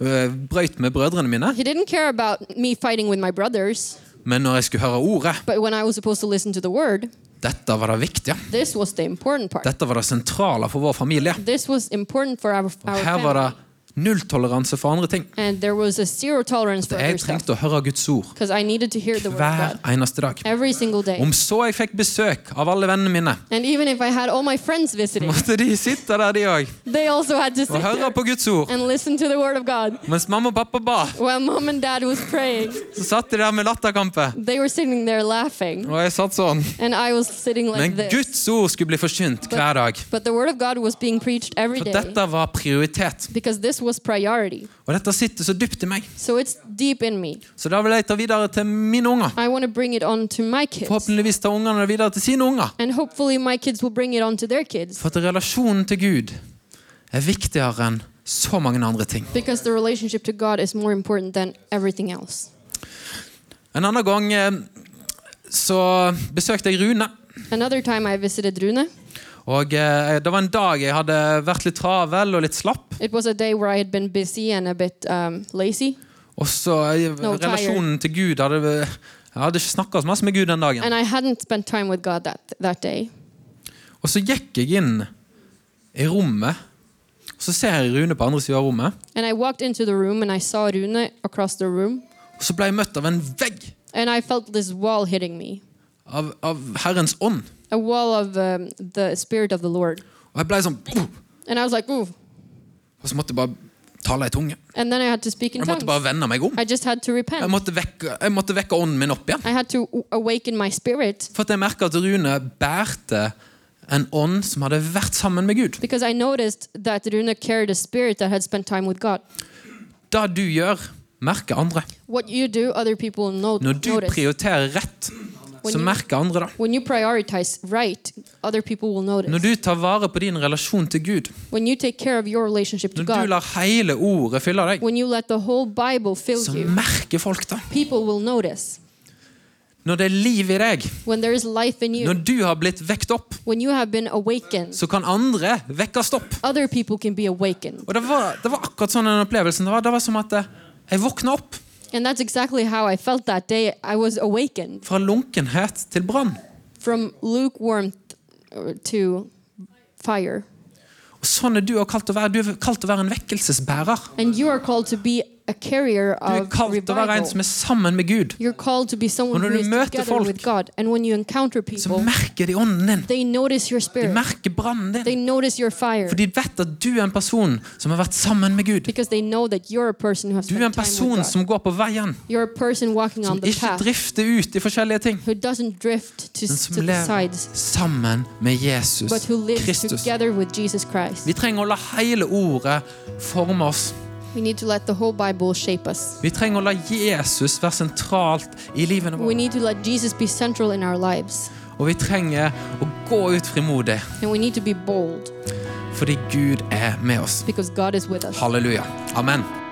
[SPEAKER 2] eh, brøyt med brødrene mine,
[SPEAKER 3] He didn't care about me fighting with my brothers,
[SPEAKER 2] men når jeg skulle høre ordet
[SPEAKER 3] but when I was supposed to listen to the word,
[SPEAKER 2] Dette var det viktige.
[SPEAKER 3] this was the important part.
[SPEAKER 2] Dette var det sentrale for vår familie.
[SPEAKER 3] This was important for our,
[SPEAKER 2] Og
[SPEAKER 3] our
[SPEAKER 2] her var
[SPEAKER 3] family.
[SPEAKER 2] det nulltoleranse for andre ting.
[SPEAKER 3] And there was a zero tolerance for other
[SPEAKER 2] Jeg
[SPEAKER 3] stuff
[SPEAKER 2] trengte å høre Guds ord
[SPEAKER 3] because I needed to hear the word of
[SPEAKER 2] hver
[SPEAKER 3] God
[SPEAKER 2] eneste dag.
[SPEAKER 3] every single day.
[SPEAKER 2] Om så jeg fikk besøk av alle vennene mine,
[SPEAKER 3] And even if I had all my friends visiting,
[SPEAKER 2] måtte de sitte der, de òg,
[SPEAKER 3] they also had to sit
[SPEAKER 2] og høre
[SPEAKER 3] there
[SPEAKER 2] på Guds ord.
[SPEAKER 3] and listen to the word of God.
[SPEAKER 2] Mens mamma og pappa ba,
[SPEAKER 3] While mom and dad was praying,
[SPEAKER 2] så satt de der med latterkampe.
[SPEAKER 3] they were sitting there laughing,
[SPEAKER 2] Og jeg satt sånn.
[SPEAKER 3] and I was sitting like
[SPEAKER 2] Men
[SPEAKER 3] this.
[SPEAKER 2] Guds ord skulle bli forkynt hver dag.
[SPEAKER 3] But the word of God was being preached every
[SPEAKER 2] For
[SPEAKER 3] day
[SPEAKER 2] dette var prioritet.
[SPEAKER 3] because this was priority.
[SPEAKER 2] Og dette sitter så dypt i meg.
[SPEAKER 3] So it's deep in me.
[SPEAKER 2] Så da vil jeg ta videre til mine unger.
[SPEAKER 3] I want to bring it on to my kids.
[SPEAKER 2] Forhåpentligvis tar ungene det videre til sine unger.
[SPEAKER 3] And hopefully, my kids will bring it on to their kids
[SPEAKER 2] For at relasjonen til Gud er viktigere enn så mange andre ting.
[SPEAKER 3] because the relationship to God is more important than everything else.
[SPEAKER 2] En annen gang eh, så besøkte jeg Rune.
[SPEAKER 3] Another time, I visited Rune.
[SPEAKER 2] Og eh, Det var en dag jeg hadde vært litt travel og litt slapp.
[SPEAKER 3] It was a day where I had been busy and a bit um, lazy,
[SPEAKER 2] Og så eh,
[SPEAKER 3] No, tired.
[SPEAKER 2] Relasjonen til Gud hadde Jeg hadde ikke snakka så masse med Gud den dagen.
[SPEAKER 3] and I hadn't spent time with God that that day.
[SPEAKER 2] Og så gikk jeg inn i rommet, og så ser jeg Rune på andre sida av rommet.
[SPEAKER 3] And I walked into the room and I saw Rune across the room,
[SPEAKER 2] Og så ble jeg møtt av en vegg
[SPEAKER 3] and I felt this wall hitting me,
[SPEAKER 2] av, av Herrens ånd.
[SPEAKER 3] a wall of um, the spirit of the Lord.
[SPEAKER 2] Og jeg ble sånn Og
[SPEAKER 3] And I was like, ooh.
[SPEAKER 2] så måtte jeg bare tale i tunge.
[SPEAKER 3] And then I had to speak in
[SPEAKER 2] Jeg måtte
[SPEAKER 3] tongues.
[SPEAKER 2] bare vende meg om.
[SPEAKER 3] I just had to
[SPEAKER 2] Jeg
[SPEAKER 3] repent.
[SPEAKER 2] måtte vekke, jeg måtte vekke ånden min opp igjen.
[SPEAKER 3] I had to awaken my spirit
[SPEAKER 2] For at jeg merka at Rune bærte en ånd som hadde vært sammen med Gud.
[SPEAKER 3] because I noticed that Rune carried a spirit that had spent time with God.
[SPEAKER 2] Det du gjør, merker andre.
[SPEAKER 3] What you do, other people no-
[SPEAKER 2] Når du
[SPEAKER 3] notice.
[SPEAKER 2] prioriterer rett, så merker andre det.
[SPEAKER 3] When you prioritize right, other people will notice.
[SPEAKER 2] Når du tar vare på din relasjon til Gud,
[SPEAKER 3] when you take care of your relationship to
[SPEAKER 2] når du
[SPEAKER 3] God,
[SPEAKER 2] lar hele ordet fylle deg,
[SPEAKER 3] when you let the whole Bible fill
[SPEAKER 2] så
[SPEAKER 3] you,
[SPEAKER 2] merker folk det.
[SPEAKER 3] people will notice.
[SPEAKER 2] Når det er liv i deg,
[SPEAKER 3] When there is life in you,
[SPEAKER 2] når du har blitt vekt opp,
[SPEAKER 3] when you have been awakened,
[SPEAKER 2] så kan andre vekkes opp.
[SPEAKER 3] other people can be awakened.
[SPEAKER 2] Og det var, det var akkurat sånn den opplevelsen det var. Det var som at eh, jeg våkna opp
[SPEAKER 3] And that's exactly how I felt that day. I was awakened
[SPEAKER 2] fra lunkenhet til brann.
[SPEAKER 3] from lukewarm to fire.
[SPEAKER 2] Og sånn er du også kalt å være. Du er kalt å være en vekkelsesbærer.
[SPEAKER 3] And you are called to be a carrier
[SPEAKER 2] Du er
[SPEAKER 3] of
[SPEAKER 2] kalt å være en
[SPEAKER 3] revival.
[SPEAKER 2] som er sammen med Gud.
[SPEAKER 3] You're called to be someone
[SPEAKER 2] Og når
[SPEAKER 3] who
[SPEAKER 2] du
[SPEAKER 3] is
[SPEAKER 2] møter
[SPEAKER 3] together
[SPEAKER 2] folk,
[SPEAKER 3] with God. And when you encounter
[SPEAKER 2] Så
[SPEAKER 3] people,
[SPEAKER 2] merker de ånden din.
[SPEAKER 3] they notice your
[SPEAKER 2] De
[SPEAKER 3] spirit.
[SPEAKER 2] merker brannen
[SPEAKER 3] They
[SPEAKER 2] din.
[SPEAKER 3] notice your fire.
[SPEAKER 2] For de vet at du er en person som har vært sammen med Gud.
[SPEAKER 3] Because they know that you're a person who has
[SPEAKER 2] Du er
[SPEAKER 3] spent
[SPEAKER 2] en
[SPEAKER 3] time with
[SPEAKER 2] person
[SPEAKER 3] God.
[SPEAKER 2] som går på veien,
[SPEAKER 3] You're a person walking
[SPEAKER 2] som
[SPEAKER 3] on the
[SPEAKER 2] ikke
[SPEAKER 3] path
[SPEAKER 2] drifter ut i forskjellige ting,
[SPEAKER 3] who doesn't drift to,
[SPEAKER 2] men
[SPEAKER 3] to
[SPEAKER 2] som
[SPEAKER 3] the
[SPEAKER 2] lever
[SPEAKER 3] sides,
[SPEAKER 2] sammen med Jesus
[SPEAKER 3] but who lives
[SPEAKER 2] Kristus.
[SPEAKER 3] together with Jesus Christ.
[SPEAKER 2] Vi trenger å la hele ordet forme oss.
[SPEAKER 3] We need to let the whole Bible shape us.
[SPEAKER 2] Vi trenger å la Jesus være sentralt i livene
[SPEAKER 3] We
[SPEAKER 2] våre.
[SPEAKER 3] need to let Jesus be central in our lives.
[SPEAKER 2] Og vi trenger å gå ut frimodig,
[SPEAKER 3] And we need to be bold
[SPEAKER 2] fordi Gud er med oss.
[SPEAKER 3] because God is with us.
[SPEAKER 2] Halleluja. Amen.